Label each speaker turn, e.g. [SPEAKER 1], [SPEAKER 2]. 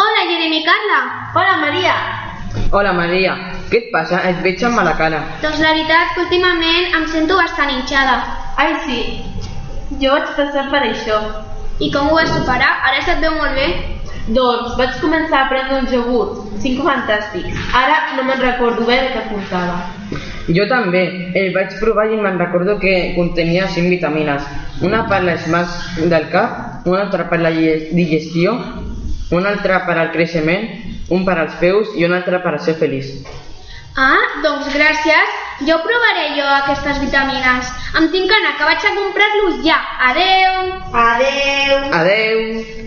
[SPEAKER 1] Mari Carla!
[SPEAKER 2] Hola, Maria!
[SPEAKER 3] Hola, Maria. Què et passa? Et veig amb mala cara.
[SPEAKER 1] Doncs la veritat que últimament em sento bastant hinxada.
[SPEAKER 2] Ai, sí, jo vaig passar per això.
[SPEAKER 1] I com ho vas superar? Ara se't veu molt bé?
[SPEAKER 2] Doncs vaig començar a prendre un iogurt, cinc fantàstics. Ara no me'n recordo bé el que portava.
[SPEAKER 3] Jo també. El vaig provar i me'n recordo que contenia cinc vitamines. Una per les mans del cap, una altra per la lle- digestió, una altra per al creixement, un per als peus i una altra per a ser feliç.
[SPEAKER 1] Ah, doncs gràcies. Jo provaré jo aquestes vitamines. Em tinc que anar, que vaig a comprar-los ja. Adeu!
[SPEAKER 2] Adeu!
[SPEAKER 3] Adeu!